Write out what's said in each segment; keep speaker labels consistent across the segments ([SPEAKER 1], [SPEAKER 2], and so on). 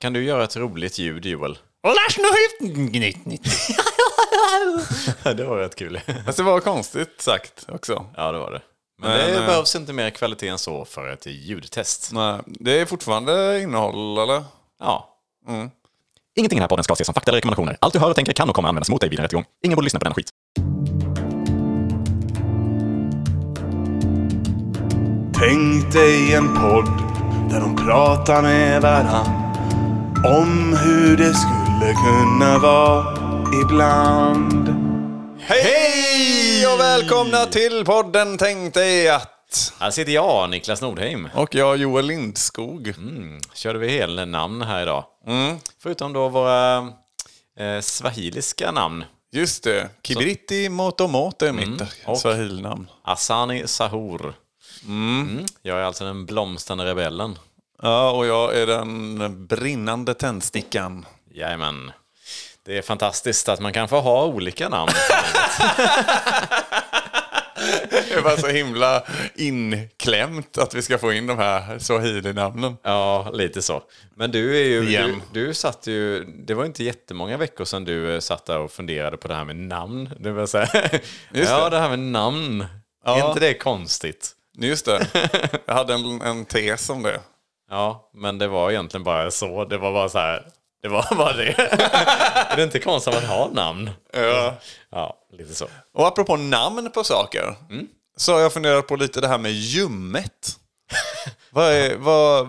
[SPEAKER 1] Kan du göra ett roligt ljud, Joel? det var rätt kul.
[SPEAKER 2] Fast det var konstigt sagt också.
[SPEAKER 1] Ja, det var det. Men,
[SPEAKER 2] Men,
[SPEAKER 1] det
[SPEAKER 2] eh,
[SPEAKER 1] behövs inte mer kvalitet än så för ett ljudtest.
[SPEAKER 2] Nej, det är fortfarande innehåll eller?
[SPEAKER 1] Ja. Mm.
[SPEAKER 3] Ingenting i den här podden ska ses som fakta eller rekommendationer. Allt du hör och tänker kan och kommer användas mot dig vid en rättegång. Ingen borde lyssna på den skit.
[SPEAKER 4] Tänk dig en podd där de pratar med varann om hur det skulle kunna vara ibland.
[SPEAKER 2] Hej och välkomna till podden Tänk dig att.
[SPEAKER 1] Här sitter jag, Niklas Nordheim.
[SPEAKER 2] Och jag Joel Lindskog.
[SPEAKER 1] Mm. Körde vi hela namn här idag. Mm. Förutom då våra eh, swahiliska namn.
[SPEAKER 2] Just det. Kibriti Motomoto är mitt
[SPEAKER 1] Mm, och-
[SPEAKER 2] swahilinamn.
[SPEAKER 1] Asani Sahur. Mm. Jag är alltså den blomstrande rebellen.
[SPEAKER 2] Ja, och jag är den brinnande tändstickan.
[SPEAKER 1] Jajamän. Det är fantastiskt att man kan få ha olika namn.
[SPEAKER 2] Det var så himla inklämt att vi ska få in de här swahili-namnen.
[SPEAKER 1] ja, lite så. Men du är ju...
[SPEAKER 2] Igen.
[SPEAKER 1] Du, du satt ju... Det var inte jättemånga veckor sedan du eh, satt där och funderade på det här med namn. Det vill säga, ja, det här med namn. Är inte det konstigt?
[SPEAKER 2] Just det. Jag hade en, en tes om det.
[SPEAKER 1] Ja, men det var egentligen bara så. Det var bara så här... Det var bara det. är det inte konstigt att man har namn?
[SPEAKER 2] Ja.
[SPEAKER 1] Ja, lite så.
[SPEAKER 2] Och apropå namn på saker. Så har jag funderat på lite det här med ljummet. vad är vad,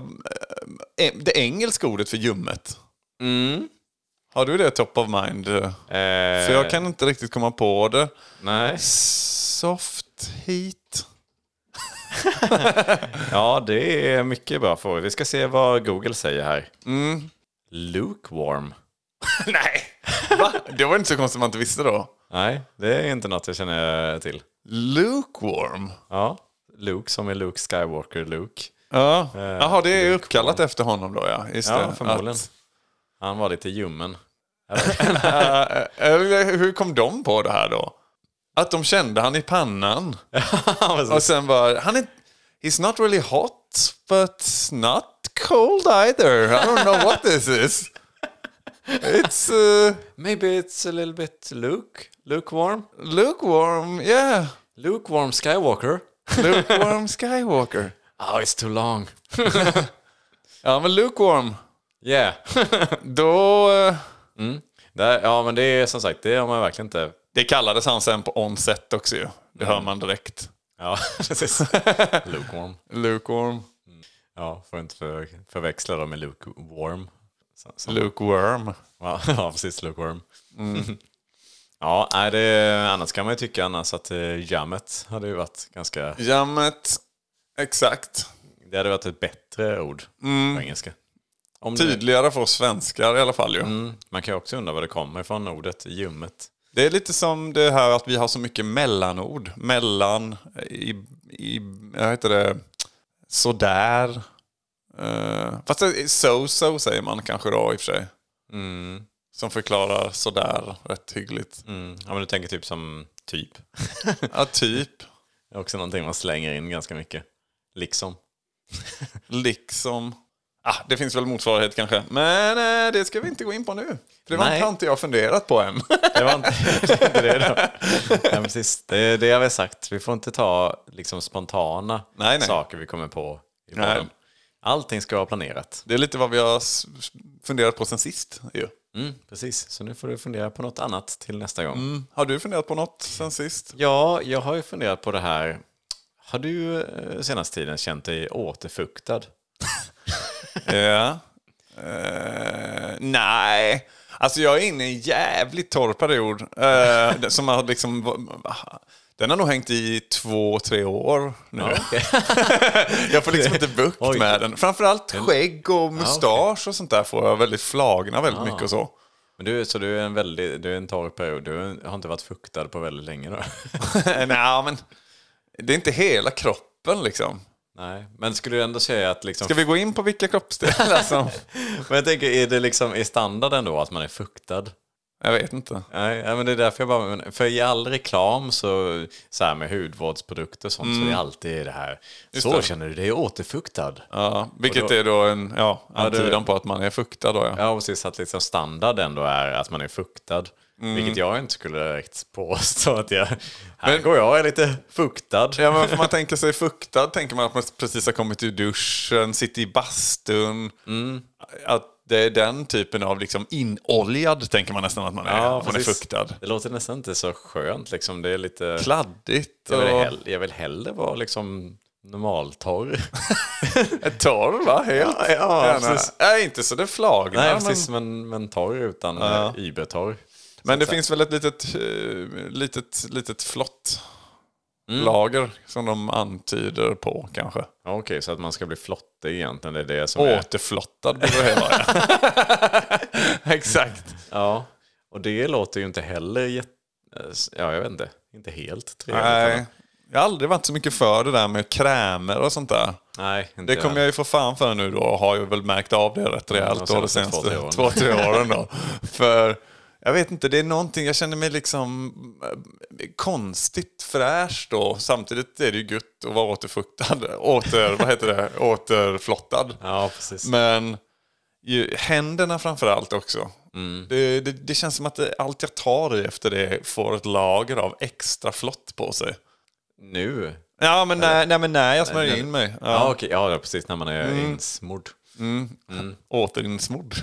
[SPEAKER 2] eh, det engelska ordet för ljummet? Mm. Har du det top of mind?
[SPEAKER 1] Eh,
[SPEAKER 2] För jag kan inte riktigt komma på det.
[SPEAKER 1] Nej.
[SPEAKER 2] Soft heat.
[SPEAKER 1] Ja, det är mycket bra frågor. Vi ska se vad Google säger här.
[SPEAKER 2] Mm.
[SPEAKER 1] Lukewarm.
[SPEAKER 2] Nej, va? Det var inte så konstigt att man inte visste då.
[SPEAKER 1] Nej, det är inte något jag känner till.
[SPEAKER 2] Lukewarm.
[SPEAKER 1] Ja, Luke som är Luke Skywalker Luke.
[SPEAKER 2] Ja. Jaha, det är uppkallat efter honom då ja. Just
[SPEAKER 1] Eh, Ja,
[SPEAKER 2] det.
[SPEAKER 1] förmodligen.
[SPEAKER 2] Att-
[SPEAKER 1] Eh, Han var lite ljummen.
[SPEAKER 2] Eller eh, hur kom de på det här då? Att de kände han i pannan. Och sen bara, han är, he's not really hot but not cold either. I don't know what this is. It's uh,
[SPEAKER 1] Maybe it's a little bit Luke. Lukewarm.
[SPEAKER 2] lukewarm, yeah.
[SPEAKER 1] Lukewarm Skywalker.
[SPEAKER 2] Lukewarm Skywalker.
[SPEAKER 1] Oh, it's too long.
[SPEAKER 2] Ja men lukewarm,
[SPEAKER 1] Yeah.
[SPEAKER 2] då... eh,
[SPEAKER 1] Där, ja, men det är som sagt, det har man verkligen inte...
[SPEAKER 2] det kallades han sen på onset också ju. Det
[SPEAKER 1] Mm.
[SPEAKER 2] hör man direkt.
[SPEAKER 1] Ja, precis. Lukewarm.
[SPEAKER 2] Lukewarm,
[SPEAKER 1] Ja, får inte för, förväxla då med lukewarm. Så- så-
[SPEAKER 2] lukeworm.
[SPEAKER 1] Ja, ja, precis. Lukewarm.
[SPEAKER 2] Mm.
[SPEAKER 1] Ja, nej, det, annars kan man ju tycka annars att eh, jammet hade ju varit ganska...
[SPEAKER 2] Jammet, exakt. Mm.
[SPEAKER 1] Det hade varit ett bättre ord på engelska. Om det-
[SPEAKER 2] Tydligare för oss svenskar i alla fall ju.
[SPEAKER 1] Mm, man kan ju också undra var det kommer ifrån, ordet ljummet.
[SPEAKER 2] Det är lite som det här att vi har så mycket mellanord. Mellan, i, i vad heter det, sådär. Uh, fast det är so-so säger man kanske då i och för sig. Som förklarar sådär rätt hyggligt.
[SPEAKER 1] Mm. Ja, men du tänker typ som typ.
[SPEAKER 2] Ja, typ.
[SPEAKER 1] Det är också någonting man slänger in ganska mycket. Liksom.
[SPEAKER 2] Liksom. Ah, det finns väl motsvarighet kanske. Men eh, det ska vi inte gå in på nu. För det var
[SPEAKER 1] Nej.
[SPEAKER 2] inte- har inte jag funderat på än.
[SPEAKER 1] Det var inte det, var inte det då. Ja, precis. Det är det jag har sagt. Vi får inte ta liksom, spontana
[SPEAKER 2] Nej, nej.
[SPEAKER 1] saker vi kommer på i
[SPEAKER 2] Nej.
[SPEAKER 1] podden. Allting ska vara planerat.
[SPEAKER 2] Det är lite vad vi har s- funderat på sen sist. Ju.
[SPEAKER 1] Mm, precis, så nu får du fundera på något annat till nästa gång.
[SPEAKER 2] Har du funderat på något sen sist?
[SPEAKER 1] Ja, jag har ju funderat på det här. Har du eh, senaste tiden känt dig återfuktad?
[SPEAKER 2] Ja. Eh, nej. Alltså jag är inne i en jävligt torr period. eh, som har liksom... Den har nog hängt i två, tre år nu. jag får liksom inte bukt
[SPEAKER 1] Oj.
[SPEAKER 2] med den. Framförallt skägg och mustasch och sånt där får jag väldigt flagna väldigt mycket och så.
[SPEAKER 1] Men du, så du är en väldigt, du är en torr period. Du har inte varit fuktad på väldigt länge då?
[SPEAKER 2] nej, men det är inte hela kroppen liksom.
[SPEAKER 1] Nej, men skulle du ändå säga att liksom...
[SPEAKER 2] Ska vi gå in på vilka kroppsdelar som...
[SPEAKER 1] Men jag tänker, är det liksom i standarden då att man är fuktad?
[SPEAKER 2] Jag vet inte.
[SPEAKER 1] Nej, ja, men det är därför jag bara... men För i all reklam så, så här med hudvårdsprodukter och sånt så är det alltid det här. så
[SPEAKER 2] Mm. det.
[SPEAKER 1] känner du dig återfuktad.
[SPEAKER 2] Ja, vilket
[SPEAKER 1] då-
[SPEAKER 2] är då en ja,
[SPEAKER 1] det-
[SPEAKER 2] antydan på att man är fuktad. Då, ja.
[SPEAKER 1] Ja, precis. Att liksom standard ändå är att man är fuktad.
[SPEAKER 2] Mm.
[SPEAKER 1] Vilket jag inte skulle direkt påstå att jag... Här går jag, jag är lite fuktad.
[SPEAKER 2] Ja, men för man tänker sig fuktad, tänker man att man precis har kommit ur duschen, sitter i bastun. Att det är den typen av liksom inoljad, tänker man nästan att man är. Ja, man är
[SPEAKER 1] precis.
[SPEAKER 2] fuktad.
[SPEAKER 1] Det låter nästan inte så skönt liksom. Det är lite...
[SPEAKER 2] Kladdigt
[SPEAKER 1] Jag
[SPEAKER 2] och
[SPEAKER 1] vill, hell- jag vill hellre vara liksom normaltorr.
[SPEAKER 2] torr, va? Helt.
[SPEAKER 1] Ja, ja,
[SPEAKER 2] Gärna.
[SPEAKER 1] precis.
[SPEAKER 2] Nej, inte så det flagnar.
[SPEAKER 1] Nej,
[SPEAKER 2] men-
[SPEAKER 1] precis. Men, men torr utan ja. ybertorr.
[SPEAKER 2] Men det finns väl ett litet, eh, litet, litet flott lager som de antyder på kanske.
[SPEAKER 1] Ja, Okej, så att man ska bli flottig egentligen. Det är det som är...
[SPEAKER 2] Återflottad borde det hela Exakt.
[SPEAKER 1] Ja. Och det låter ju inte heller jätte... eh, Ja, jag vet inte. Inte helt trevligt.
[SPEAKER 2] Nej, jag har aldrig varit så mycket för det där med krämer och sånt där.
[SPEAKER 1] Nej, inte
[SPEAKER 2] Det kommer jag ju få fan för nu då och har ju väl märkt av det rätt rejält
[SPEAKER 1] de
[SPEAKER 2] då de
[SPEAKER 1] senaste två,
[SPEAKER 2] senaste
[SPEAKER 1] tre åren.
[SPEAKER 2] två, tre åren. Då. För jag vet inte, det är någonting, jag känner mig liksom eh, konstigt fräsch då. Samtidigt är det ju gött att vara återfuktad, åter, vad heter det, återflottad.
[SPEAKER 1] Ja, precis.
[SPEAKER 2] Men ju, händerna framförallt också.
[SPEAKER 1] Mm.
[SPEAKER 2] Det, det, det känns som att det, allt jag tar i efter det får ett lager av extra flott på sig.
[SPEAKER 1] Nu?
[SPEAKER 2] Ja men när, nej, men när jag smörjer
[SPEAKER 1] nej.
[SPEAKER 2] in mig. Ja. Mm.
[SPEAKER 1] Ja, okej. Ja, precis. När man är insmord.
[SPEAKER 2] Återinsmord.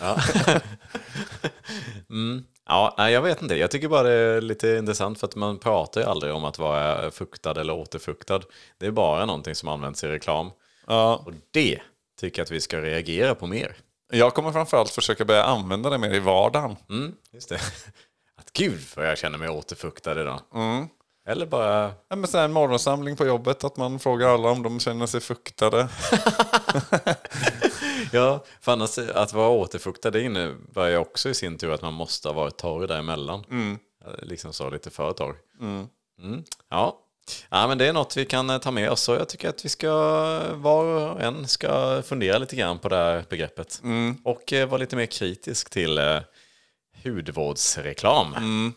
[SPEAKER 1] Ja, nej, jag vet inte. Jag tycker bara det är lite intressant för att man pratar ju aldrig om att vara fuktad eller återfuktad. Det är bara någonting som används i reklam.
[SPEAKER 2] Ja.
[SPEAKER 1] Och det tycker jag att vi ska reagera på mer.
[SPEAKER 2] Jag kommer framförallt försöka börja använda det mer i vardagen.
[SPEAKER 1] Just det. Att gud vad jag känner mig återfuktad idag.
[SPEAKER 2] Mm.
[SPEAKER 1] Eller bara...
[SPEAKER 2] Ja, men så här en morgonsamling på jobbet, att man frågar alla om de känner sig fuktade.
[SPEAKER 1] Ja, för annars att vara återfuktad det innebär ju också i sin tur att man måste ha varit torr däremellan. Mm. Liksom så lite för torr. Mm. Ja. ja, men det är något vi kan eh, ta med oss och jag tycker att vi ska var och en ska fundera lite grann på det här begreppet.
[SPEAKER 2] Mm.
[SPEAKER 1] Och eh, vara lite mer kritisk till eh, hudvårdsreklam.
[SPEAKER 2] Mm.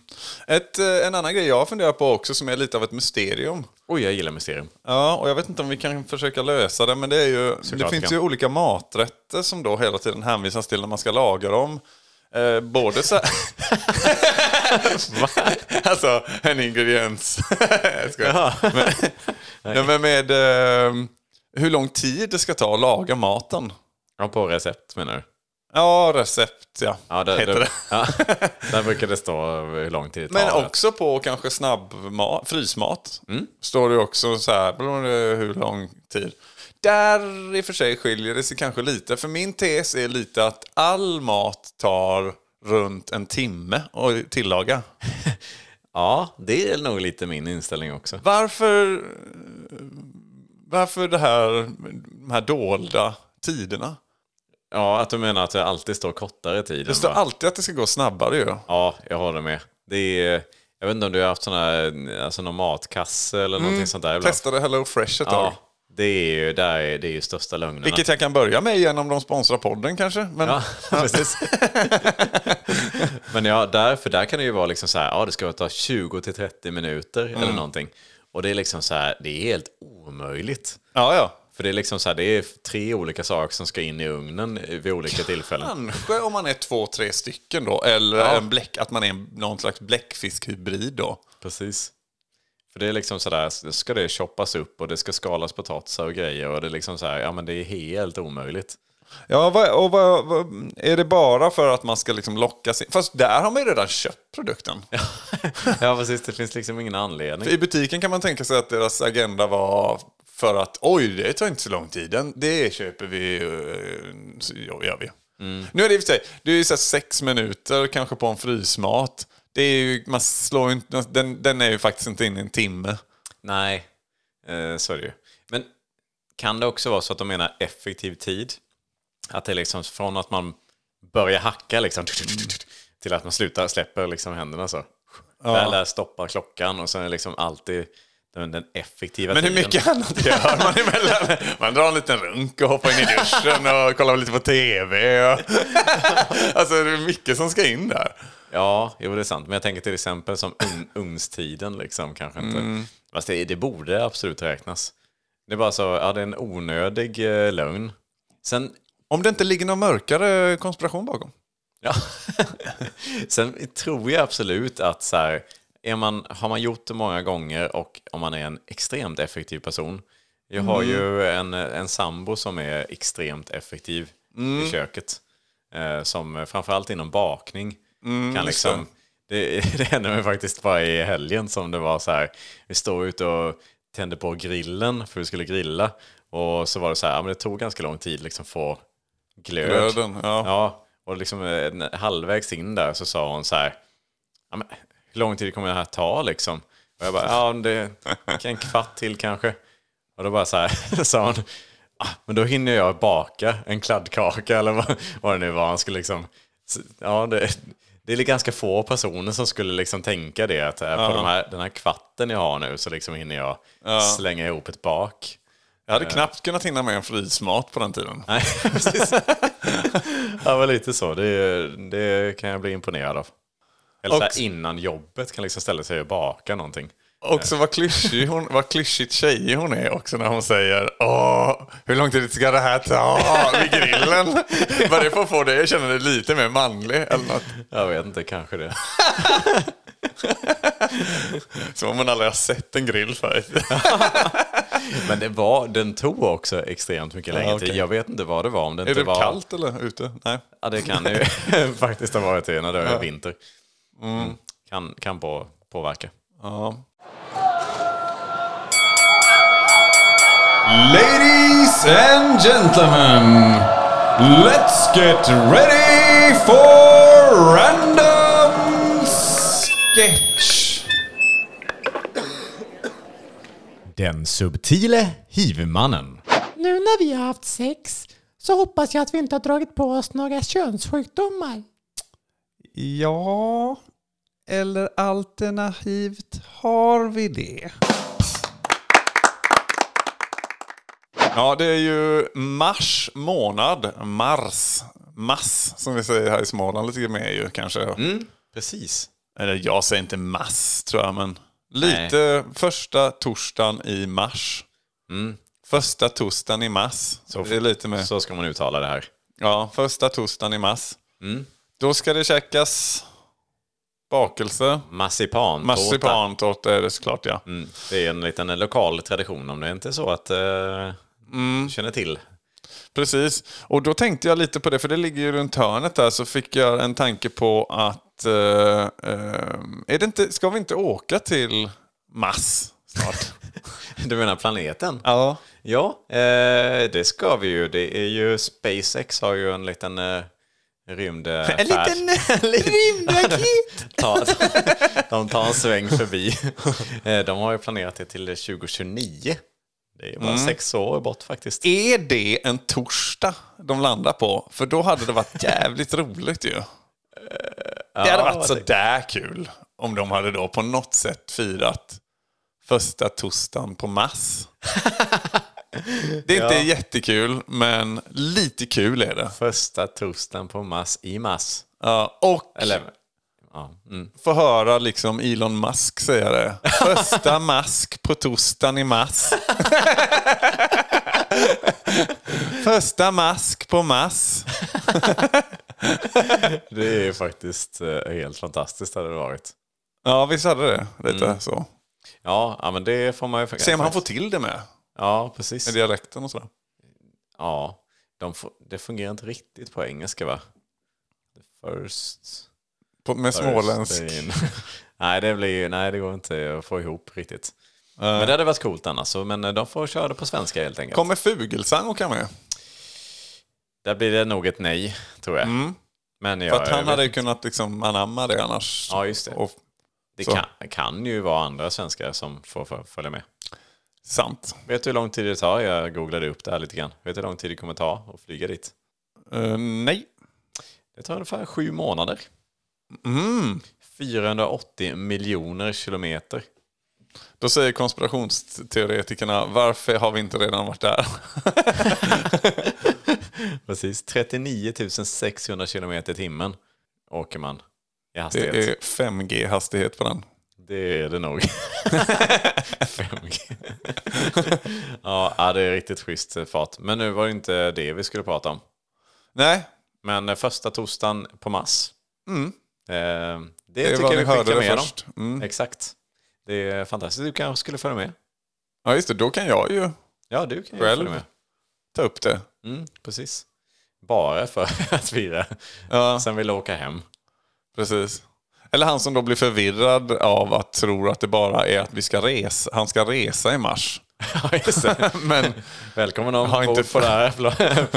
[SPEAKER 2] Ett, eh, en annan grej jag funderar på också som är lite av ett mysterium.
[SPEAKER 1] Oj, jag gillar mysterium.
[SPEAKER 2] Ja, och jag vet inte om vi kan försöka lösa det, men det, är ju, det
[SPEAKER 1] vi
[SPEAKER 2] finns
[SPEAKER 1] kan.
[SPEAKER 2] ju olika maträtter som då hela tiden hänvisas till när man ska laga dem. Eh, både så här... alltså, en ingrediens. Jag skojar. men, Nej, men med eh, hur lång tid det ska ta att laga maten.
[SPEAKER 1] Ja, på recept menar du?
[SPEAKER 2] Ja, recept ja,
[SPEAKER 1] Ja, där,
[SPEAKER 2] heter
[SPEAKER 1] där,
[SPEAKER 2] det.
[SPEAKER 1] ja, där brukar det stå hur lång tid det
[SPEAKER 2] Men
[SPEAKER 1] tar.
[SPEAKER 2] också på kanske snabbmat, frysmat.
[SPEAKER 1] Mm.
[SPEAKER 2] Står det ju också så här, bla, bla, bla, hur lång tid. Där i och för sig skiljer det sig kanske lite. För min tes är lite att all mat tar runt en timme att tillaga.
[SPEAKER 1] Ja, det är nog lite min inställning också.
[SPEAKER 2] Varför, varför det här, de här dolda tiderna?
[SPEAKER 1] Ja, att du menar att det alltid står kortare tid.
[SPEAKER 2] Det står alltid att det ska gå snabbare ju.
[SPEAKER 1] Ja, jag håller med. Det är, jag vet inte om du har haft sån här, alltså någon matkasse eller
[SPEAKER 2] Mm.
[SPEAKER 1] någonting sånt där ibland.
[SPEAKER 2] Testade Hello Fresh ett tag.
[SPEAKER 1] Ja, det är ju, där är, det är ju största lögnerna.
[SPEAKER 2] Vilket jag kan börja med igen om de sponsrar podden kanske. Men
[SPEAKER 1] Ja, precis. Men ja, där, för där kan det ju vara liksom så här, ja det ska ta 20 till 30 minuter
[SPEAKER 2] Mm.
[SPEAKER 1] eller någonting. Och det är liksom så här, det är helt omöjligt.
[SPEAKER 2] ja. ja.
[SPEAKER 1] För det är liksom så här, det är tre olika saker som ska in i ugnen vid olika tillfällen.
[SPEAKER 2] Kanske om man är två, tre stycken då. Eller en bläck, att man är en- någon slags bläckfiskhybrid då.
[SPEAKER 1] Precis. För det är liksom sådär, så ska det choppas upp och det ska skalas potatisar och grejer och det är liksom såhär, ja men det är helt omöjligt.
[SPEAKER 2] Ja, vad, och vad, vad, är det bara för att man ska liksom locka sig? Fast där har man ju redan köpt produkten.
[SPEAKER 1] Ja precis, det finns liksom ingen anledning.
[SPEAKER 2] I butiken kan man tänka sig att deras agenda var för att oj, det tar inte så lång tid. Den- Det köper vi, eh, så gör vi. Nu är det i och för sig, det är ju så här sex minuter kanske på en frysmat. Det är ju, man slår ju inte, den, den är ju faktiskt inte inne i en timme.
[SPEAKER 1] Nej, eh, så är det ju. Men kan det också vara så att de menar effektiv tid? Att det är liksom från att man börjar hacka liksom, till att man slutar, släpper liksom händerna så. Eller stoppar klockan och sen är det liksom alltid den, den effektiva
[SPEAKER 2] Men hur
[SPEAKER 1] tiden.
[SPEAKER 2] mycket annat gör man emellan? Man drar en liten runk och hoppar in i duschen och kollar lite på TV. Och... Alltså det är mycket som ska in där.
[SPEAKER 1] Ja, jo det är sant. Men jag tänker till exempel som un, ugnstiden liksom kanske inte. Fast det, det borde absolut räknas. Det är bara så, ja det är en onödig eh, lögn. Sen,
[SPEAKER 2] Om det inte ligger någon mörkare konspiration bakom.
[SPEAKER 1] ja, sen tror jag absolut att så här, är man, har man gjort det många gånger och om man är en extremt effektiv person. Jag har ju en, en sambo som är extremt effektiv i köket. Eh, som framförallt inom bakning kan
[SPEAKER 2] just det.
[SPEAKER 1] liksom det, det hände mig faktiskt bara i helgen som det var så här. Vi stod ute och tände på grillen för vi skulle grilla. Och så var det så här, ja, men det tog ganska lång tid liksom få glöd.
[SPEAKER 2] Glöden, ja.
[SPEAKER 1] ja. Och liksom eh, halvvägs in där så sa hon så här, ja, men, hur lång tid kommer det här ta liksom? Och jag bara, ja det en kvart till kanske. Och då bara så här, sa hon, ah, men då hinner jag baka en kladdkaka eller vad, vad det nu var. Han skulle liksom, så- ja, det, det är ganska få personer som skulle liksom tänka det, att eh, på de här, den här kvarten jag har nu så liksom hinner jag slänga ihop ett bak.
[SPEAKER 2] Jag hade knappt kunnat hinna med en frysmat på den tiden.
[SPEAKER 1] Nej, precis. ja, men lite så. Det, det kan jag bli imponerad av. Eller så
[SPEAKER 2] Och-
[SPEAKER 1] här, innan jobbet kan liksom ställa sig och baka någonting.
[SPEAKER 2] Också vad, klyschig hon, vad klyschigt tjejig hon är också när hon säger Åh, hur lång tid ska det här ta vid grillen? Bara det får få dig att känna dig lite mer manlig eller något.
[SPEAKER 1] Jag vet inte, kanske det.
[SPEAKER 2] Som om man aldrig har sett en grill förut.
[SPEAKER 1] Men det var, den tog också extremt mycket längre
[SPEAKER 2] okej.
[SPEAKER 1] tid. Jag vet inte vad det var. Om det
[SPEAKER 2] Är
[SPEAKER 1] inte
[SPEAKER 2] det
[SPEAKER 1] var...
[SPEAKER 2] kallt eller ute? Nej.
[SPEAKER 1] Ja, det kan ju faktiskt ha varit det när det är vinter. Mm. Kan, kan på, påverka.
[SPEAKER 2] Ja.
[SPEAKER 5] Ladies and gentlemen, let's get ready for random sketch.
[SPEAKER 1] Den subtile hivmannen.
[SPEAKER 6] Nu när vi har haft sex så hoppas jag att vi inte har dragit på oss några könssjukdomar.
[SPEAKER 7] Ja, eller alternativt har vi det?
[SPEAKER 2] ja, det är ju mars månad. Mars. Mass som vi säger här i Småland lite mer ju kanske.
[SPEAKER 1] Mm, Precis.
[SPEAKER 2] Eller jag säger inte mass tror jag, men lite första torsdagen i mars. Första torsdagen i mars. Så det är lite mer.
[SPEAKER 1] Så ska man uttala det här.
[SPEAKER 2] Ja, första torsdagen i mars. Då ska det käkas bakelse.
[SPEAKER 1] Marsipan.
[SPEAKER 2] Marsipantårta är det såklart ja.
[SPEAKER 1] Mm. Det är en liten lokal tradition om det inte är så att eh,
[SPEAKER 2] Mm.
[SPEAKER 1] känner till.
[SPEAKER 2] Precis, och då tänkte jag lite på det, för det ligger ju runt hörnet där, så fick jag en tanke på att eh, eh, är det inte, ska vi inte åka till Mars snart?
[SPEAKER 1] Du menar planeten?
[SPEAKER 2] ja.
[SPEAKER 1] Ja, eh, det ska vi ju. Det är ju SpaceX har ju en liten eh, rymdaffär. En liten rymdraket! de tar en sväng förbi. Eh, de har ju planerat det till 2029. Det är bara
[SPEAKER 2] Mm.
[SPEAKER 1] sex år bort faktiskt.
[SPEAKER 2] Är det en torsdag de landar på? För då hade det varit jävligt roligt ju. Det hade varit sådär kul om de hade då på något sätt firat första torsdagen på Mars. Det är inte jättekul, men lite kul är det.
[SPEAKER 1] Första torsdagen på mass i mass.
[SPEAKER 2] Ja, och
[SPEAKER 1] Eller, ja, mm.
[SPEAKER 2] få höra liksom Elon Musk säga det. Första mask på torsdagen i mass. Första mask på mass.
[SPEAKER 1] Det är faktiskt eh, helt fantastiskt hade det varit.
[SPEAKER 2] Ja, visst hade det lite så.
[SPEAKER 1] Ja, Mm. ja, men det får man ju...
[SPEAKER 2] Se om han får till det med,
[SPEAKER 1] Ja, precis.
[SPEAKER 2] med dialekten och sådär.
[SPEAKER 1] Ja, de fu- det fungerar inte riktigt på engelska va? The first...
[SPEAKER 2] På, med
[SPEAKER 1] first
[SPEAKER 2] småländsk.
[SPEAKER 1] in. nej, det blir, nej, det går inte att få ihop riktigt. Men det hade varit coolt annars, så- men eh, de får köra det på svenska helt enkelt.
[SPEAKER 2] Kommer Fuglesang åka med?
[SPEAKER 1] Där blir det nog ett nej, tror jag. Men jag,
[SPEAKER 2] Mm. För att
[SPEAKER 1] jag
[SPEAKER 2] han
[SPEAKER 1] vet-
[SPEAKER 2] hade ju kunnat liksom anamma det annars.
[SPEAKER 1] Ja, just det.
[SPEAKER 2] Och,
[SPEAKER 1] det
[SPEAKER 2] så.
[SPEAKER 1] kan, kan ju vara andra svenskar som får fö- följa med.
[SPEAKER 2] sant.
[SPEAKER 1] Vet du hur lång tid det tar? Jag googlade upp det här lite grann. Vet du hur lång tid det kommer ta att flyga dit?
[SPEAKER 2] Eh, nej.
[SPEAKER 1] Det tar ungefär sju månader.
[SPEAKER 2] Mm.
[SPEAKER 1] 480 miljoner kilometer.
[SPEAKER 2] Då säger konspirationsteoretikerna, varför har vi inte redan varit där?
[SPEAKER 1] Precis, 39 600 kilometer i timmen åker man. i
[SPEAKER 2] Det
[SPEAKER 1] hastighet.
[SPEAKER 2] är 5G-hastighet på den.
[SPEAKER 1] Det är det nog. 5G. ja, ja, det är riktigt schysst fart. Men nu var det inte det vi skulle prata om.
[SPEAKER 2] Nej, Mm.
[SPEAKER 1] Men eh, första torsdagen på mars. Eh, det,
[SPEAKER 2] det,
[SPEAKER 1] tycker
[SPEAKER 2] var
[SPEAKER 1] jag
[SPEAKER 2] ni
[SPEAKER 1] vi
[SPEAKER 2] hörde
[SPEAKER 1] skickar
[SPEAKER 2] det
[SPEAKER 1] med dem.
[SPEAKER 2] först. Mm.
[SPEAKER 1] Exakt. Det är fantastiskt. Du kanske skulle följa med?
[SPEAKER 2] Ja, just det. Då kan jag ju
[SPEAKER 1] Ja, du kan ju
[SPEAKER 2] Själv?
[SPEAKER 1] följa med.
[SPEAKER 2] ta upp det.
[SPEAKER 1] Mm, precis. Bara för att fira.
[SPEAKER 2] Ja,
[SPEAKER 1] Sen vill jag åka hem.
[SPEAKER 2] precis. Eller han som då blir förvirrad av att tror att det bara är att vi ska resa. Han ska resa i mars.
[SPEAKER 1] Ja, just det.
[SPEAKER 2] Men
[SPEAKER 1] Välkommen om
[SPEAKER 2] Har inte
[SPEAKER 1] inte på det här.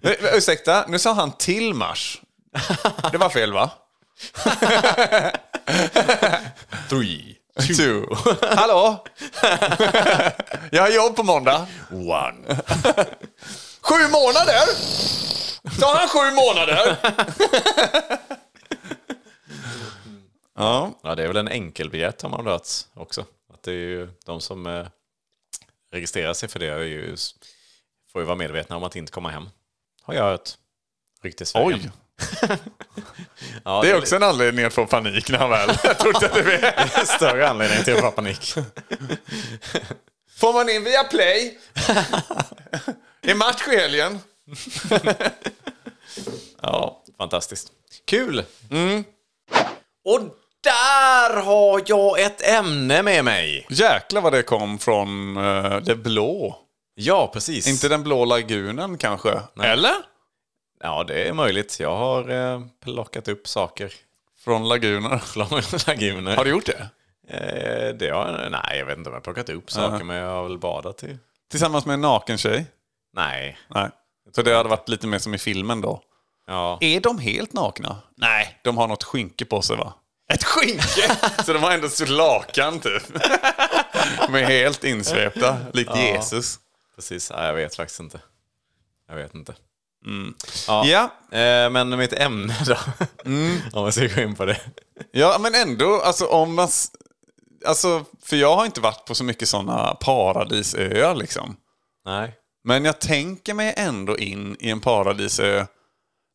[SPEAKER 2] Nej, Ursäkta, nu sa han till mars. Det var fel va?
[SPEAKER 1] Three,
[SPEAKER 2] Two. Hallå? Jag har jobb på måndag.
[SPEAKER 1] one.
[SPEAKER 2] Sju månader? Sa han sju månader? Ja,
[SPEAKER 1] Ja, det är väl en enkelbiljett har man väl hört också. Att det är ju de som eh, registrerar sig för det är ju, får ju vara medvetna om att inte komma hem. Har jag hört. Ryktesvägen.
[SPEAKER 2] oj.
[SPEAKER 1] Ja,
[SPEAKER 2] Det är också en anledning att få panik när han väl Jag trodde det var.
[SPEAKER 1] en större anledning till att få panik.
[SPEAKER 2] Får man in via play? Är match i helgen?
[SPEAKER 1] Ja, fantastiskt. Kul!
[SPEAKER 2] Mm.
[SPEAKER 1] Och där har jag ett ämne med mig.
[SPEAKER 2] Jäklar vad det kom från eh, det blå.
[SPEAKER 1] Ja, precis.
[SPEAKER 2] Inte den blå lagunen kanske? Eller?
[SPEAKER 1] Ja, det är möjligt. Jag har eh, plockat upp saker
[SPEAKER 2] Från laguner.
[SPEAKER 1] från laguner.
[SPEAKER 2] Har du gjort det?
[SPEAKER 1] Eh, det har jag, nej, jag vet inte om jag har plockat upp saker, men jag har väl badat i...
[SPEAKER 2] Tillsammans med en naken tjej?
[SPEAKER 1] Nej.
[SPEAKER 2] Nej. Så det hade varit lite mer som i filmen då?
[SPEAKER 1] Ja.
[SPEAKER 2] Är de helt nakna? Nej. De har något skynke på sig va? Ett skynke! Så de har ändå så lakan typ. De är helt insvepta, likt Jesus.
[SPEAKER 1] Precis, nej, jag vet faktiskt inte. Jag vet inte.
[SPEAKER 2] Ja.
[SPEAKER 1] Eh, men mitt ämne då?
[SPEAKER 2] Mm.
[SPEAKER 1] om jag ska gå in på det.
[SPEAKER 2] ja, men ändå, alltså om man... s- Alltså, för jag har inte varit på så mycket sådana paradisöar liksom.
[SPEAKER 1] Nej.
[SPEAKER 2] Men jag tänker mig ändå in i en paradisö.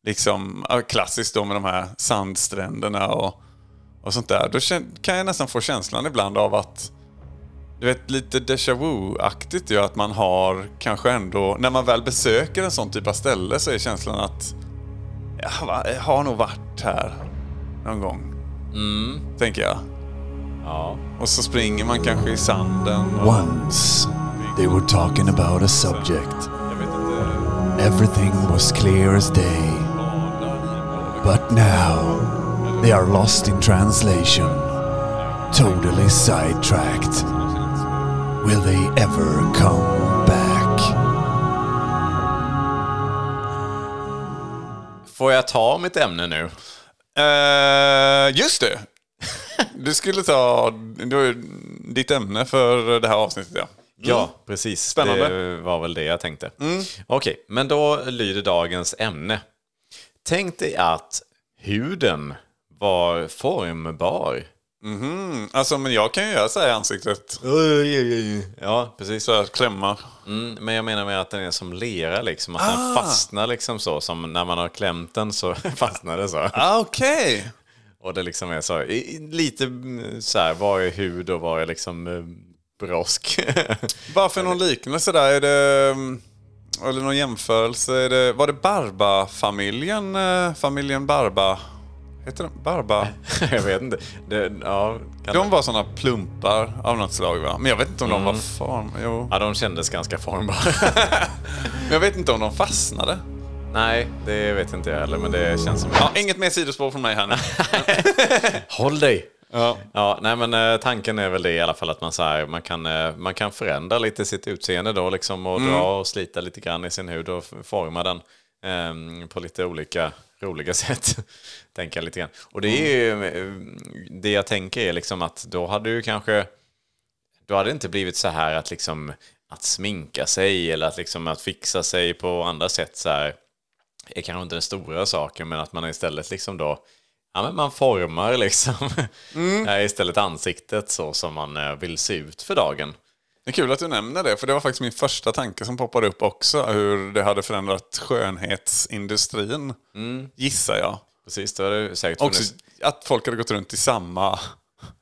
[SPEAKER 2] Liksom ja, klassiskt då med de här sandstränderna och, och sånt där. Då kän- kan jag nästan få känslan ibland av att du vet, lite déjà vu-aktigt ju att man har kanske ändå, när man väl besöker en sån typ av ställe så är känslan att jag va- jag har nog varit här någon gång. Tänker jag.
[SPEAKER 1] Ja.
[SPEAKER 2] Och så springer man kanske i sanden. Och,
[SPEAKER 8] Once, they were talking about a subject.
[SPEAKER 2] jag vet inte.
[SPEAKER 8] Everything was clear as day. But now, they are lost in translation. Totally sidetracked. Will they ever come back?
[SPEAKER 1] Får jag ta mitt ämne nu?
[SPEAKER 2] Eh, just det! Du skulle ta det var ju ditt ämne för det här avsnittet. Ja.
[SPEAKER 1] Ja, precis.
[SPEAKER 2] Spännande.
[SPEAKER 1] Det var väl det jag tänkte. Okej, men då lyder dagens ämne. Tänk dig att huden var formbar.
[SPEAKER 2] Mm, alltså, men jag kan ju göra så här i ansiktet.
[SPEAKER 1] Ja, precis.
[SPEAKER 2] Så här, klämma.
[SPEAKER 1] Mm, men jag menar med att den är som lera liksom. Att den fastnar liksom så. Som när man har klämt den så fastnar det så.
[SPEAKER 2] Ah, Okej!
[SPEAKER 1] Och det liksom är så. i- i- Lite mm, så här, var är hud och var är liksom eh, brosk?
[SPEAKER 2] Bara för någon liknelse där, är det... mm, Eller någon jämförelse. Är det, var det Barba-familjen? eh, Familjen Barba? Heter den Barba?
[SPEAKER 1] jag vet inte. Det, ja, kan
[SPEAKER 2] De var sådana plumpar av något slag va? Men jag vet inte om de var form... Jo.
[SPEAKER 1] ja, de kändes ganska formbara.
[SPEAKER 2] Men jag vet inte om de fastnade.
[SPEAKER 1] Nej, det vet inte jag heller, men det känns som...
[SPEAKER 2] Ja, inget mer sidospår från mig här nu.
[SPEAKER 1] Håll dig!
[SPEAKER 2] Ja.
[SPEAKER 1] Ja, nej men eh, tanken är väl det i alla fall att man, så här, man, kan, eh, man kan förändra lite sitt utseende då liksom och dra och slita lite grann i sin hud och f- forma den eh, på lite olika roliga sätt. tänker jag lite grann. Och det är ju, eh, det jag tänker är liksom att då hade du kanske då hade det inte blivit så här att liksom att sminka sig eller att liksom att fixa sig på andra sätt så här är kanske inte den stora saken men att man istället liksom då ja men man formar liksom
[SPEAKER 2] Mm.
[SPEAKER 1] eh, istället ansiktet så som man eh, vill se ut för dagen.
[SPEAKER 2] Det är kul att du nämner det, för det var faktiskt min första tanke som poppade upp också. Hur det hade förändrat skönhetsindustrin, gissar jag.
[SPEAKER 1] Precis, då har det säkert
[SPEAKER 2] Också
[SPEAKER 1] funnits
[SPEAKER 2] att folk hade gått runt i samma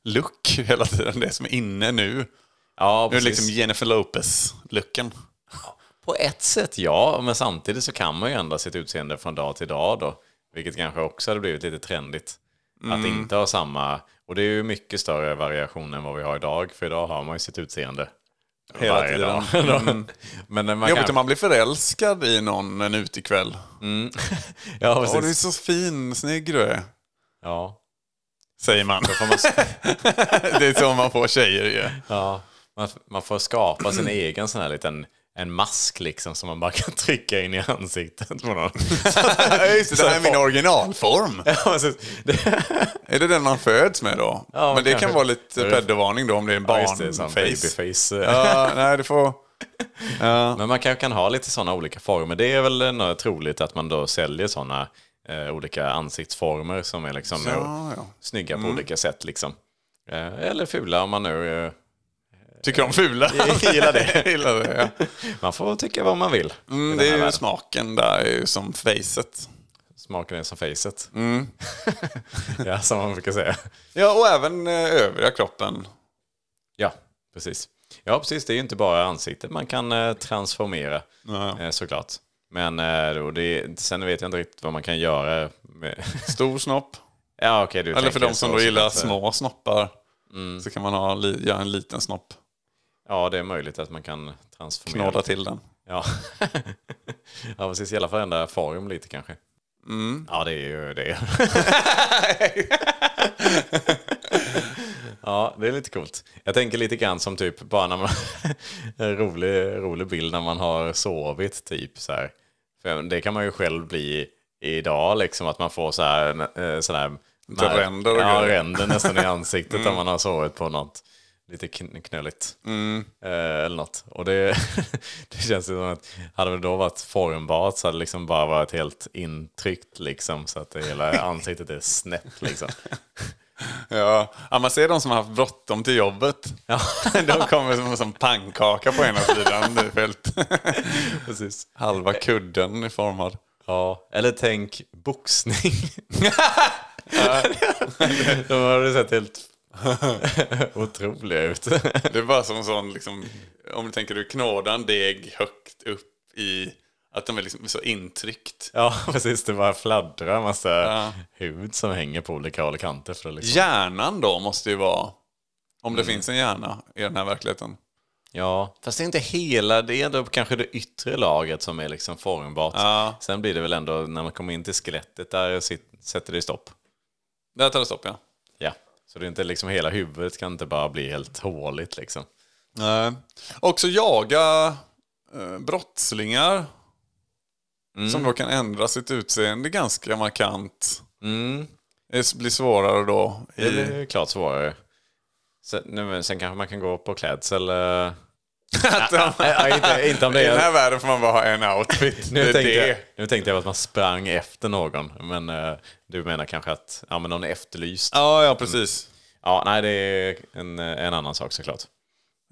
[SPEAKER 2] look hela tiden. Det som är inne nu.
[SPEAKER 1] Ja,
[SPEAKER 2] Nu är
[SPEAKER 1] precis.
[SPEAKER 2] det liksom Jennifer Lopez-looken.
[SPEAKER 1] På ett sätt ja, men samtidigt så kan man ju ändra sitt utseende från dag till dag då. Vilket kanske också hade blivit lite trendigt.
[SPEAKER 2] Mm.
[SPEAKER 1] Att inte ha samma, och det är ju mycket större variation än vad vi har idag. För idag har man ju sitt utseende.
[SPEAKER 2] Hela tiden. Mm.
[SPEAKER 1] dag. men när man
[SPEAKER 2] Jobbigt
[SPEAKER 1] kanske,
[SPEAKER 2] om man blir förälskad i någon en utekväll.
[SPEAKER 1] ja,
[SPEAKER 2] Åh, du är
[SPEAKER 1] precis.
[SPEAKER 2] så fin, snygg du är.
[SPEAKER 1] Ja,
[SPEAKER 2] Säger man. det är så man får tjejer ju.
[SPEAKER 1] ja. Man, f- man får skapa sin egen sån här liten en mask liksom som man bara kan trycka in i ansiktet på någon.
[SPEAKER 2] Ja, just det, det här är min originalform.
[SPEAKER 1] Ja, precis. Det-
[SPEAKER 2] Är det den man föds med då?
[SPEAKER 1] men
[SPEAKER 2] men det
[SPEAKER 1] kanske.
[SPEAKER 2] kan vara lite peddovarning då om det är en
[SPEAKER 1] Ja, just det, sån
[SPEAKER 2] barnface.
[SPEAKER 1] babyface.
[SPEAKER 2] Ja, nej, du får...
[SPEAKER 1] Men man kanske kan ha lite sådana olika former. Det är väl eh, troligt att man då säljer sådana eh, olika ansiktsformer som är liksom
[SPEAKER 2] Ja, ja.
[SPEAKER 1] snygga på
[SPEAKER 2] Mm.
[SPEAKER 1] olika sätt. Liksom. Eh, eller fula om man nu... Eh,
[SPEAKER 2] Tycker de fula?
[SPEAKER 1] Gillar det.
[SPEAKER 2] Gillar det, ja.
[SPEAKER 1] man får tycka vad man vill.
[SPEAKER 2] mm,
[SPEAKER 1] i den
[SPEAKER 2] det
[SPEAKER 1] här
[SPEAKER 2] är ju
[SPEAKER 1] världen.
[SPEAKER 2] smaken där är ju som facet.
[SPEAKER 1] Smaken är som facet.
[SPEAKER 2] Mm.
[SPEAKER 1] ja, som man brukar säga.
[SPEAKER 2] Ja, och även eh, övriga kroppen.
[SPEAKER 1] Ja, precis. Ja, precis. Det är ju inte bara ansiktet man kan eh, transformera, eh, såklart. Men eh, och det, sen vet jag inte riktigt vad man kan göra. Med...
[SPEAKER 2] Stor snopp.
[SPEAKER 1] ja, okej, du
[SPEAKER 2] Eller
[SPEAKER 1] tänker
[SPEAKER 2] för
[SPEAKER 1] så,
[SPEAKER 2] de som då
[SPEAKER 1] så
[SPEAKER 2] gillar
[SPEAKER 1] att, Mm. eh,
[SPEAKER 2] små snoppar så kan man ha, li- göra en liten snopp.
[SPEAKER 1] Ja, det är möjligt att man kan transformera.
[SPEAKER 2] Knåda till den.
[SPEAKER 1] Ja. ja, precis. I alla fall ändra form lite kanske.
[SPEAKER 2] Mm.
[SPEAKER 1] Ja, det är ju det. ja, det är lite coolt. Jag tänker lite grann som typ bara när man... en rolig, rolig bild när man har sovit typ så här. För det kan man ju själv bli idag liksom att man får så här... eh, Sån här
[SPEAKER 2] Så Typ ränder och
[SPEAKER 1] Ja,
[SPEAKER 2] grejer. Mm.
[SPEAKER 1] ränder nästan i ansiktet om man har sovit på något lite kn- knöligt.
[SPEAKER 2] Mm.
[SPEAKER 1] Eh, eller något. Och det, det känns ju som att hade det då varit formbart så hade det liksom bara varit helt intryckt liksom så att det hela ansiktet är snett liksom.
[SPEAKER 2] Ja. ja, man ser de som har haft bråttom till jobbet.
[SPEAKER 1] Ja,
[SPEAKER 2] De kommer som, som pannkaka på ena sidan. Det är helt... Precis. Halva kudden är formad.
[SPEAKER 1] ja. Eller tänk boxning. De hade sett helt otroliga ut.
[SPEAKER 2] Det är bara som sån, liksom, om du tänker du knåda en deg högt upp i, att de är liksom så intryckt.
[SPEAKER 1] Ja, precis. Det bara fladdrar en massa
[SPEAKER 2] Ja.
[SPEAKER 1] hud som hänger på olika håll och kanter. För att liksom...
[SPEAKER 2] Hjärnan då måste ju vara, om det finns en hjärna i den här verkligheten.
[SPEAKER 1] Ja, fast det är inte hela, det är ändå kanske det yttre lagret som är liksom formbart.
[SPEAKER 2] Ja.
[SPEAKER 1] Sen blir det väl ändå, när man kommer in till skelettet, där sit- sätter det stopp.
[SPEAKER 2] Där tar det stopp ja.
[SPEAKER 1] Ja, så det är inte liksom hela huvudet kan inte bara bli helt håligt liksom.
[SPEAKER 2] Nej. Också jaga eh, brottslingar. Som då kan ändra sitt utseende ganska markant.
[SPEAKER 1] Mm,
[SPEAKER 2] Det blir svårare då.
[SPEAKER 1] det
[SPEAKER 2] I...
[SPEAKER 1] blir ju klart svårare. Sen, nu, men sen kanske man kan gå på klädsel. eh. Nej, inte, inte om det
[SPEAKER 2] I den
[SPEAKER 1] är...
[SPEAKER 2] här världen får man bara ha en outfit.
[SPEAKER 1] Nu
[SPEAKER 2] det är
[SPEAKER 1] tänkte, jag,
[SPEAKER 2] det.
[SPEAKER 1] nu tänkte jag att man sprang efter någon, men eh, du menar kanske att ja, men någon är efterlyst?
[SPEAKER 2] Ja, ja precis.
[SPEAKER 1] Ja, nej, det är en, en annan sak såklart.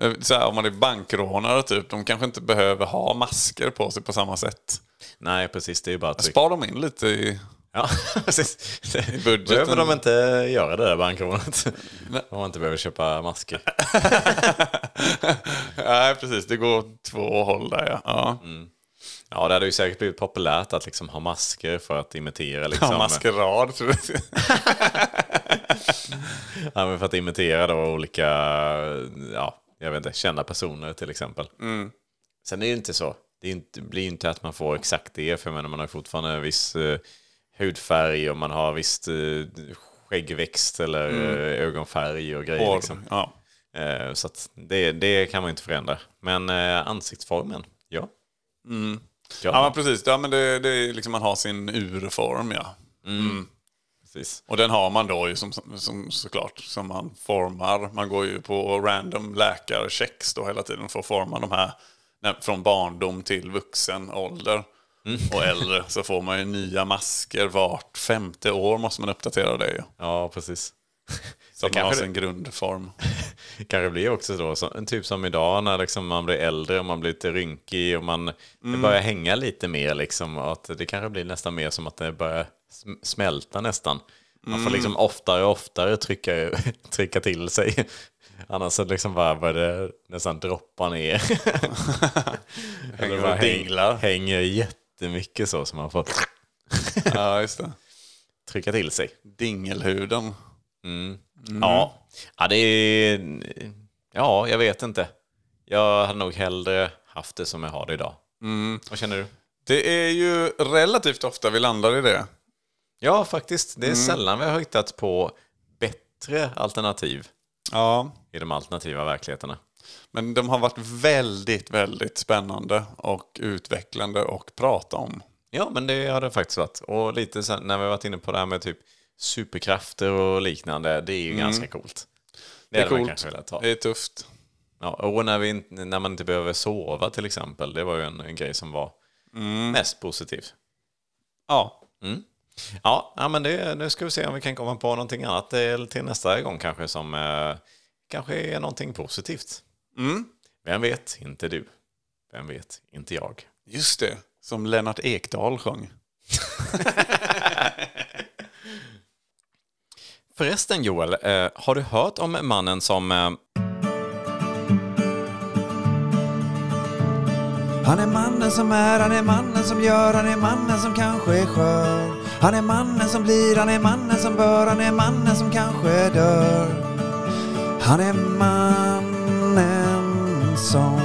[SPEAKER 2] Eh, Så här, om man är bankrånare typ, de kanske inte behöver ha masker på sig på samma sätt.
[SPEAKER 1] Nej, precis. Det är ju bara att trycka.
[SPEAKER 2] Spar dem in lite i...
[SPEAKER 1] Ja, precis. I
[SPEAKER 2] budgeten.
[SPEAKER 1] behöver de inte göra det där bankrånet. Om man inte behöver köpa masker.
[SPEAKER 2] Nej, precis. Det går åt två håll där ja. Mm. ja.
[SPEAKER 1] Ja, det hade ju säkert blivit populärt att liksom ha masker för att imitera. Liksom,
[SPEAKER 2] ja maskerad. tror jag.
[SPEAKER 1] Ja, men för att imitera då olika, ja, jag vet inte, kända personer till exempel.
[SPEAKER 2] Mm.
[SPEAKER 1] Sen är det ju inte så. Det är ju inte, blir ju inte att man får exakt det, för jag menar, man har ju fortfarande en viss eh, hudfärg och man har visst eh, skäggväxt eller eh, ögonfärg och grejer.
[SPEAKER 2] Mm. Hår.
[SPEAKER 1] Liksom.
[SPEAKER 2] Ja.
[SPEAKER 1] Eh, Så att det, det kan man inte förändra. Men eh, ansiktsformen, ja. Ja,
[SPEAKER 2] ja, men precis. Ja, men det, det är liksom man har sin urform ja.
[SPEAKER 1] precis.
[SPEAKER 2] Och den har man då ju som, som, såklart som man formar. Man går ju på random läkarchecks då hela tiden för att forma de här när, från barndom till vuxen ålder. Och äldre så får man ju nya masker vart femte år måste man uppdatera det ju.
[SPEAKER 1] Ja, precis.
[SPEAKER 2] Så att man har
[SPEAKER 1] kanske
[SPEAKER 2] sin grundform.
[SPEAKER 1] kanske blir också då, så, en typ som idag när liksom man blir äldre och man blir lite rynkig och man det börjar hänga lite mer. Liksom, och att det kanske blir nästan mer som att det börjar sm- smälta nästan. Man får liksom oftare och oftare trycka, trycka till sig. Annars så liksom bara börjar det nästan droppa ner. Eller bara häng, hänger jättemycket så som man får
[SPEAKER 2] Ja, just det.
[SPEAKER 1] trycka till sig.
[SPEAKER 2] Dingelhuden.
[SPEAKER 1] Ja. ja, det är... Ja, jag vet inte. Jag hade nog hellre haft det som jag har det idag. Vad känner du?
[SPEAKER 2] Det är ju relativt ofta vi landar i det.
[SPEAKER 1] Ja, faktiskt. Det är sällan vi har hittat på bättre alternativ
[SPEAKER 2] Ja.
[SPEAKER 1] i de alternativa verkligheterna.
[SPEAKER 2] Men de har varit väldigt, väldigt spännande och utvecklande och prata om.
[SPEAKER 1] Ja, men det har det faktiskt varit. Och lite sen när vi har varit inne på det här med typ superkrafter och liknande, det är ju ganska coolt. Mm. Det, hade man kanske velat ha.
[SPEAKER 2] Det är tufft.
[SPEAKER 1] Ja, och när, vi, inte- när man inte behöver sova till exempel, det var ju en, en grej som var mest positiv.
[SPEAKER 2] Ja.
[SPEAKER 1] Ja, ja men det, nu ska vi se om vi kan komma på någonting annat eh, till nästa gång kanske som eh, kanske är någonting positivt.
[SPEAKER 2] Mm.
[SPEAKER 1] Vem vet, inte du. Vem vet, inte jag.
[SPEAKER 2] Just det. Som Lennart Ekdal sjöng.
[SPEAKER 1] Förresten Joel, eh, har du hört om mannen som... Eh,
[SPEAKER 7] Han är mannen som är, han är mannen som gör, han är mannen som kanske är skör. Han är mannen som blir, han är mannen som bör, han är mannen som kanske dör. Han är mannen som...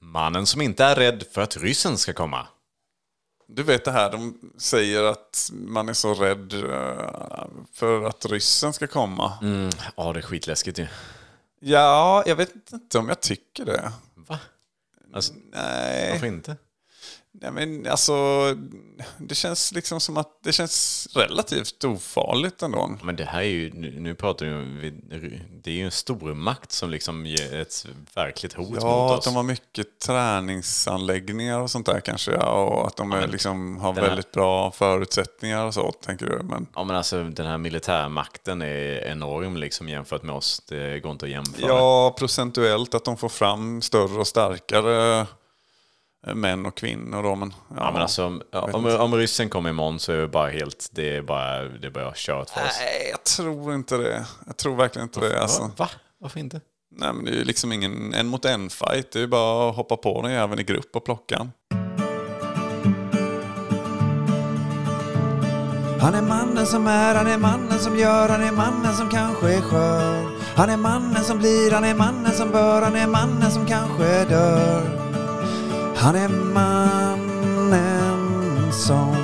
[SPEAKER 1] mannen som inte är rädd för att ryssen ska komma.
[SPEAKER 2] Du vet det här, de säger att man är så rädd eh, för att ryssen ska komma.
[SPEAKER 1] Mm, ja, det är skitläskigt ju.
[SPEAKER 2] Ja, jag vet inte om jag tycker det.
[SPEAKER 1] Va? Alltså,
[SPEAKER 2] Nej.
[SPEAKER 1] varför inte?
[SPEAKER 2] Nej, men alltså, det känns liksom som att det känns relativt ofarligt ändå.
[SPEAKER 1] Men det här är ju, nu nu pratar vi om, vi- det är ju en stormakt som liksom ger ett verkligt hot mot
[SPEAKER 2] Ja,
[SPEAKER 1] oss.
[SPEAKER 2] att de har mycket träningsanläggningar och sånt där kanske. Ja, och att de är, liksom, har
[SPEAKER 1] den här-
[SPEAKER 2] väldigt bra förutsättningar och så, tänker du. Men,
[SPEAKER 1] Ja men alltså den här militärmakten är enorm liksom jämfört med oss. Det går inte att jämföra.
[SPEAKER 2] ja, procentuellt att de får fram större och starkare eh, män och kvinnor. Då, men, ja.
[SPEAKER 1] Ja, men alltså, om,
[SPEAKER 2] vet
[SPEAKER 1] om,
[SPEAKER 2] inte.
[SPEAKER 1] om ryssen kommer imorgon så är det bara helt, det är bara, det är bara kört för oss.
[SPEAKER 2] Nej, jag tror inte det. Jag tror verkligen inte det. Alltså.
[SPEAKER 1] Va? Varför inte?
[SPEAKER 2] Nej, men det är ju liksom ingen en mot en fight. Det är ju bara att hoppa på den även i grupp och plocka den.
[SPEAKER 7] Han är mannen som är, han är mannen som gör, han är mannen som kanske är skör. Han är mannen som blir, han är mannen som bör, han är mannen som kanske dör. Han är mannen som...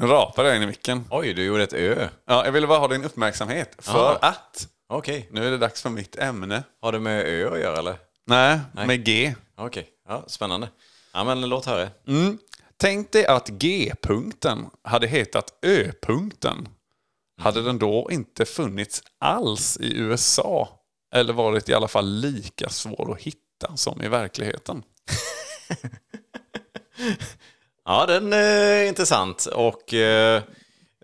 [SPEAKER 2] Nu rapar jag in i micken.
[SPEAKER 1] Oj, du gjorde ett ö.
[SPEAKER 2] Ja, jag ville bara ha din uppmärksamhet. För
[SPEAKER 1] Ah.
[SPEAKER 2] att
[SPEAKER 1] Okej.
[SPEAKER 2] nu är det dags för mitt ämne.
[SPEAKER 1] Har det med ö att göra eller?
[SPEAKER 2] Nej, med G.
[SPEAKER 1] Okej, ja, spännande. Ja men låt höra.
[SPEAKER 2] Mm. Tänk dig att G-punkten hade hetat Ö-punkten. Hade den då inte funnits alls i USA? Eller varit i alla fall lika svår att hitta som i verkligheten?
[SPEAKER 1] Ja, den är intressant. Och eh,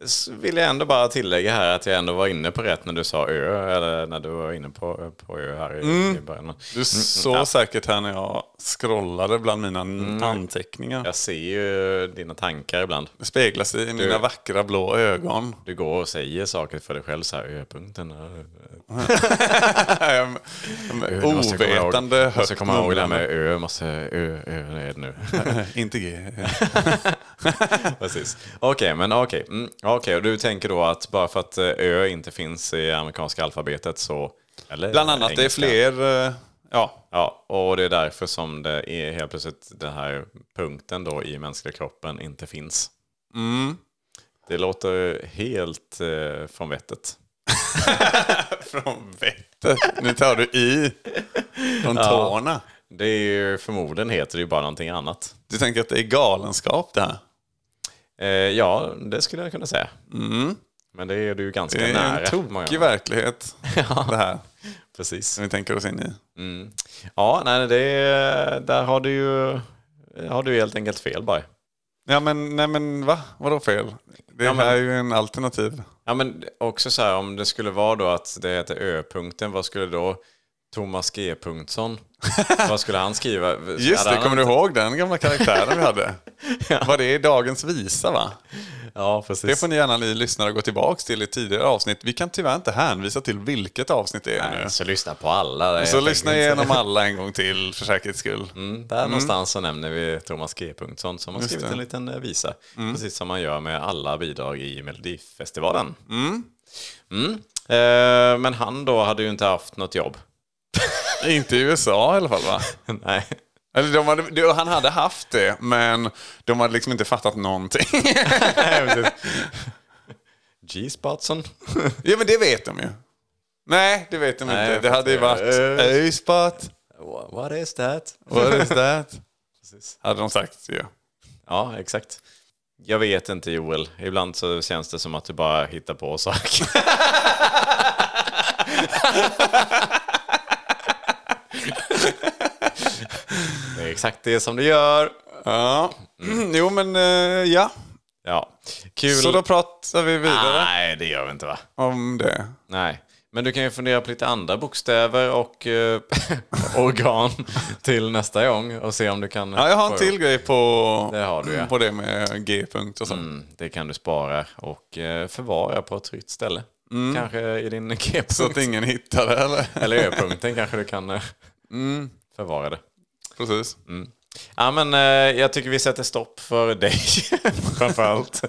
[SPEAKER 1] s- vill jag ändå bara tillägga här att jag ändå var inne på rätt när du sa ö, eller när du var inne på, på ö här i,
[SPEAKER 2] Mm.
[SPEAKER 1] i början.
[SPEAKER 2] Du såg säkert här när jag scrollade bland mina
[SPEAKER 1] Mm.
[SPEAKER 2] anteckningar.
[SPEAKER 1] Jag ser ju dina tankar ibland.
[SPEAKER 2] Det speglar sig i mina vackra blå ögon.
[SPEAKER 1] Du går och säger saker för dig själv så här, ö-punkten. ö, eh, ö."
[SPEAKER 2] Ehm,
[SPEAKER 1] Ö, nu måste jag komma ihåg-
[SPEAKER 2] Ovetande
[SPEAKER 1] Måste
[SPEAKER 2] högt
[SPEAKER 1] komma ihåg det här
[SPEAKER 2] mumlande.
[SPEAKER 1] med ö, måste ö, ö, är det nu.
[SPEAKER 2] Inte G.
[SPEAKER 1] Precis. Okej, men okej. Mm, okej, och du tänker då att bara för att eh, ö inte finns i amerikanska alfabetet så... Eller
[SPEAKER 2] Bland annat, det är
[SPEAKER 1] engelska.
[SPEAKER 2] fler... eh, Ja,
[SPEAKER 1] Ja, och det är därför som det är helt plötsligt den här punkten då i mänskliga kroppen inte finns.
[SPEAKER 2] Mm.
[SPEAKER 1] Det låter helt eh, från vettet.
[SPEAKER 2] från vettet. Nu tar du i. Från tårna.
[SPEAKER 1] Det är ju, förmodligen heter det ju bara någonting annat.
[SPEAKER 2] Du tänker att det är galenskap det här?
[SPEAKER 1] Eh, ja, det skulle jag kunna säga. Men det är du ju ganska
[SPEAKER 2] Mm. Det är
[SPEAKER 1] nära.
[SPEAKER 2] en
[SPEAKER 1] många
[SPEAKER 2] tokig
[SPEAKER 1] gånger.
[SPEAKER 2] verklighet. Det här
[SPEAKER 1] Precis.
[SPEAKER 2] som vi tänker oss in i.
[SPEAKER 1] Ja, nej, det är, där har du ju har du helt enkelt fel bara.
[SPEAKER 2] Ja men, nej men va? Vadå fel? Det
[SPEAKER 1] Ja, men-
[SPEAKER 2] här är ju en alternativ.
[SPEAKER 1] Ja, men också så här om det skulle vara då att det heter ö-punkten, vad skulle då Thomas G. Punktsson. Vad skulle han skriva?
[SPEAKER 2] Just
[SPEAKER 1] Hade
[SPEAKER 2] det,
[SPEAKER 1] han-
[SPEAKER 2] kommer du ihåg den gamla karaktären vi hade? Var det i dagens visa va?
[SPEAKER 1] Ja, precis.
[SPEAKER 2] Det får ni gärna ni lyssnare gå tillbaka till i tidigare avsnitt. Vi kan tyvärr inte hänvisa till vilket avsnitt det är
[SPEAKER 1] Nej,
[SPEAKER 2] nu.
[SPEAKER 1] Så lyssna på alla. det är
[SPEAKER 2] Så
[SPEAKER 1] helt
[SPEAKER 2] lyssna
[SPEAKER 1] enkelt.
[SPEAKER 2] igenom alla en gång till för säkerhets skull.
[SPEAKER 1] Mm, där någonstans så nämner vi Thomas G. Punktsson som har skrivit
[SPEAKER 2] det.
[SPEAKER 1] en liten eh, visa. Precis som man gör med alla bidrag i Melodifestivalen. Mm. Eh, men han då hade ju inte haft något jobb.
[SPEAKER 2] Inte i USA i alla fall va?
[SPEAKER 1] Nej.
[SPEAKER 2] Eller de hade, det- han hade haft det, men de hade liksom inte fattat någonting.
[SPEAKER 1] G-spotson.
[SPEAKER 2] ja, men det vet de ju. Nej, det vet de
[SPEAKER 1] Nej,
[SPEAKER 2] inte. Det hade ju
[SPEAKER 1] fast
[SPEAKER 2] varit
[SPEAKER 1] det-
[SPEAKER 2] öjspot.
[SPEAKER 1] Wha- What is that?
[SPEAKER 2] eh. What is that?
[SPEAKER 1] Precis.
[SPEAKER 2] Hade de sagt ju.
[SPEAKER 1] Ja, exakt. Jag vet inte Joel. Ibland så känns det som att du bara hittar på saker. det är exakt det som du gör.
[SPEAKER 2] Ja, jo men eh, ja.
[SPEAKER 1] Ja, kul.
[SPEAKER 2] Så då pratar vi vidare
[SPEAKER 1] Nej, det gör vi inte va?
[SPEAKER 2] om det.
[SPEAKER 1] Nej. Men du kan ju fundera på lite andra bokstäver och eh, organ till nästa gång och se om du kan...
[SPEAKER 2] Ja, jag har en
[SPEAKER 1] få
[SPEAKER 2] till
[SPEAKER 1] ihop.
[SPEAKER 2] grej på
[SPEAKER 1] Det har du, ja.
[SPEAKER 2] på det med G-punkt och så.
[SPEAKER 1] Mm, det kan du spara och eh, förvara på ett tryggt ställe.
[SPEAKER 2] Mm.
[SPEAKER 1] Kanske i din
[SPEAKER 2] Så att
[SPEAKER 1] g-punkt.
[SPEAKER 2] ingen hittar det eller?
[SPEAKER 1] Eller ö-punkten kanske du kan eh,
[SPEAKER 2] Mm.
[SPEAKER 1] förvara det.
[SPEAKER 2] Precis.
[SPEAKER 1] Mm. Ja, men eh, jag tycker vi sätter stopp för dig framförallt.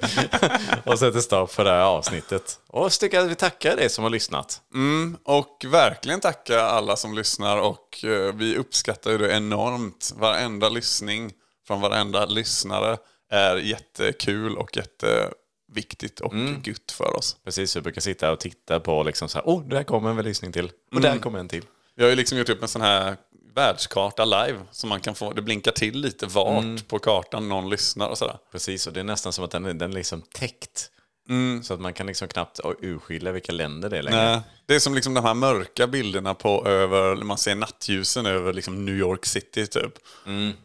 [SPEAKER 1] och sätter stopp för det här avsnittet. Och så tycker jag att vi tackar dig som har lyssnat.
[SPEAKER 2] Och verkligen tacka alla som lyssnar och eh, vi uppskattar ju det enormt. Varenda lyssning från varenda lyssnare är jättekul och jätteviktigt och
[SPEAKER 1] Mm.
[SPEAKER 2] gött för oss.
[SPEAKER 1] Precis, vi brukar sitta och titta på liksom så här, oh, där kommer en lyssning till. Och
[SPEAKER 2] Mm.
[SPEAKER 1] där kommer en till.
[SPEAKER 2] Jag har ju liksom gjort upp en sån här världskarta live så man kan få, det blinkar till lite vart
[SPEAKER 1] Mm.
[SPEAKER 2] på kartan någon lyssnar och sådär.
[SPEAKER 1] Precis, och det är nästan som att den, är- den är liksom täckt. Så att man kan liksom knappt urskilja vilka länder det är längre.
[SPEAKER 2] Mm. Nej, Det är som liksom de här mörka bilderna på över, man ser nattljusen över liksom New York City typ.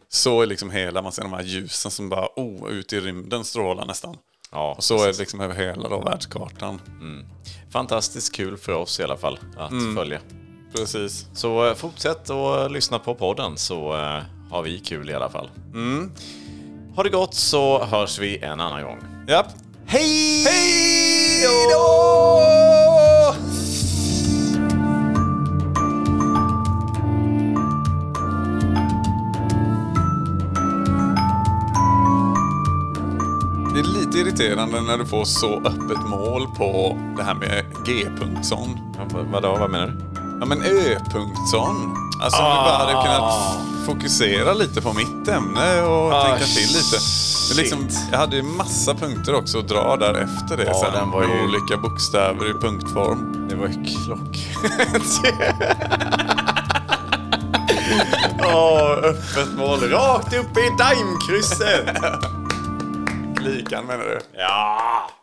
[SPEAKER 2] Så är liksom hela, man ser de här ljusen som bara, oh, ut i rymden strålar nästan.
[SPEAKER 1] Ja,
[SPEAKER 2] Och så är det liksom över hela då, världskartan.
[SPEAKER 1] Fantastiskt kul för oss i alla fall att
[SPEAKER 2] Mm.
[SPEAKER 1] följa.
[SPEAKER 2] Precis.
[SPEAKER 1] Så eh, fortsätt att lyssna på podden så eh, har vi kul i alla fall. Mm. Ha det gott så hörs vi en annan gång.
[SPEAKER 2] Japp.
[SPEAKER 1] Hej!
[SPEAKER 2] Hej då! Det är lite irriterande när du får så öppet mål på det här med G-punktsson.
[SPEAKER 1] Vadå, vad menar du?
[SPEAKER 2] Ja men Ö-punktsson. Alltså om vi bara hade kunnat
[SPEAKER 1] Ah.
[SPEAKER 2] fokusera lite på mitt ämne och tänka till lite. Men liksom, jag hade ju massa punkter också att dra där efter det sen.
[SPEAKER 1] den var ju-
[SPEAKER 2] med Olika bokstäver i punktform.
[SPEAKER 1] Det var ju klock.
[SPEAKER 2] Öppet mål rakt upp i daimkrysset! Likan menar du?
[SPEAKER 1] Ja!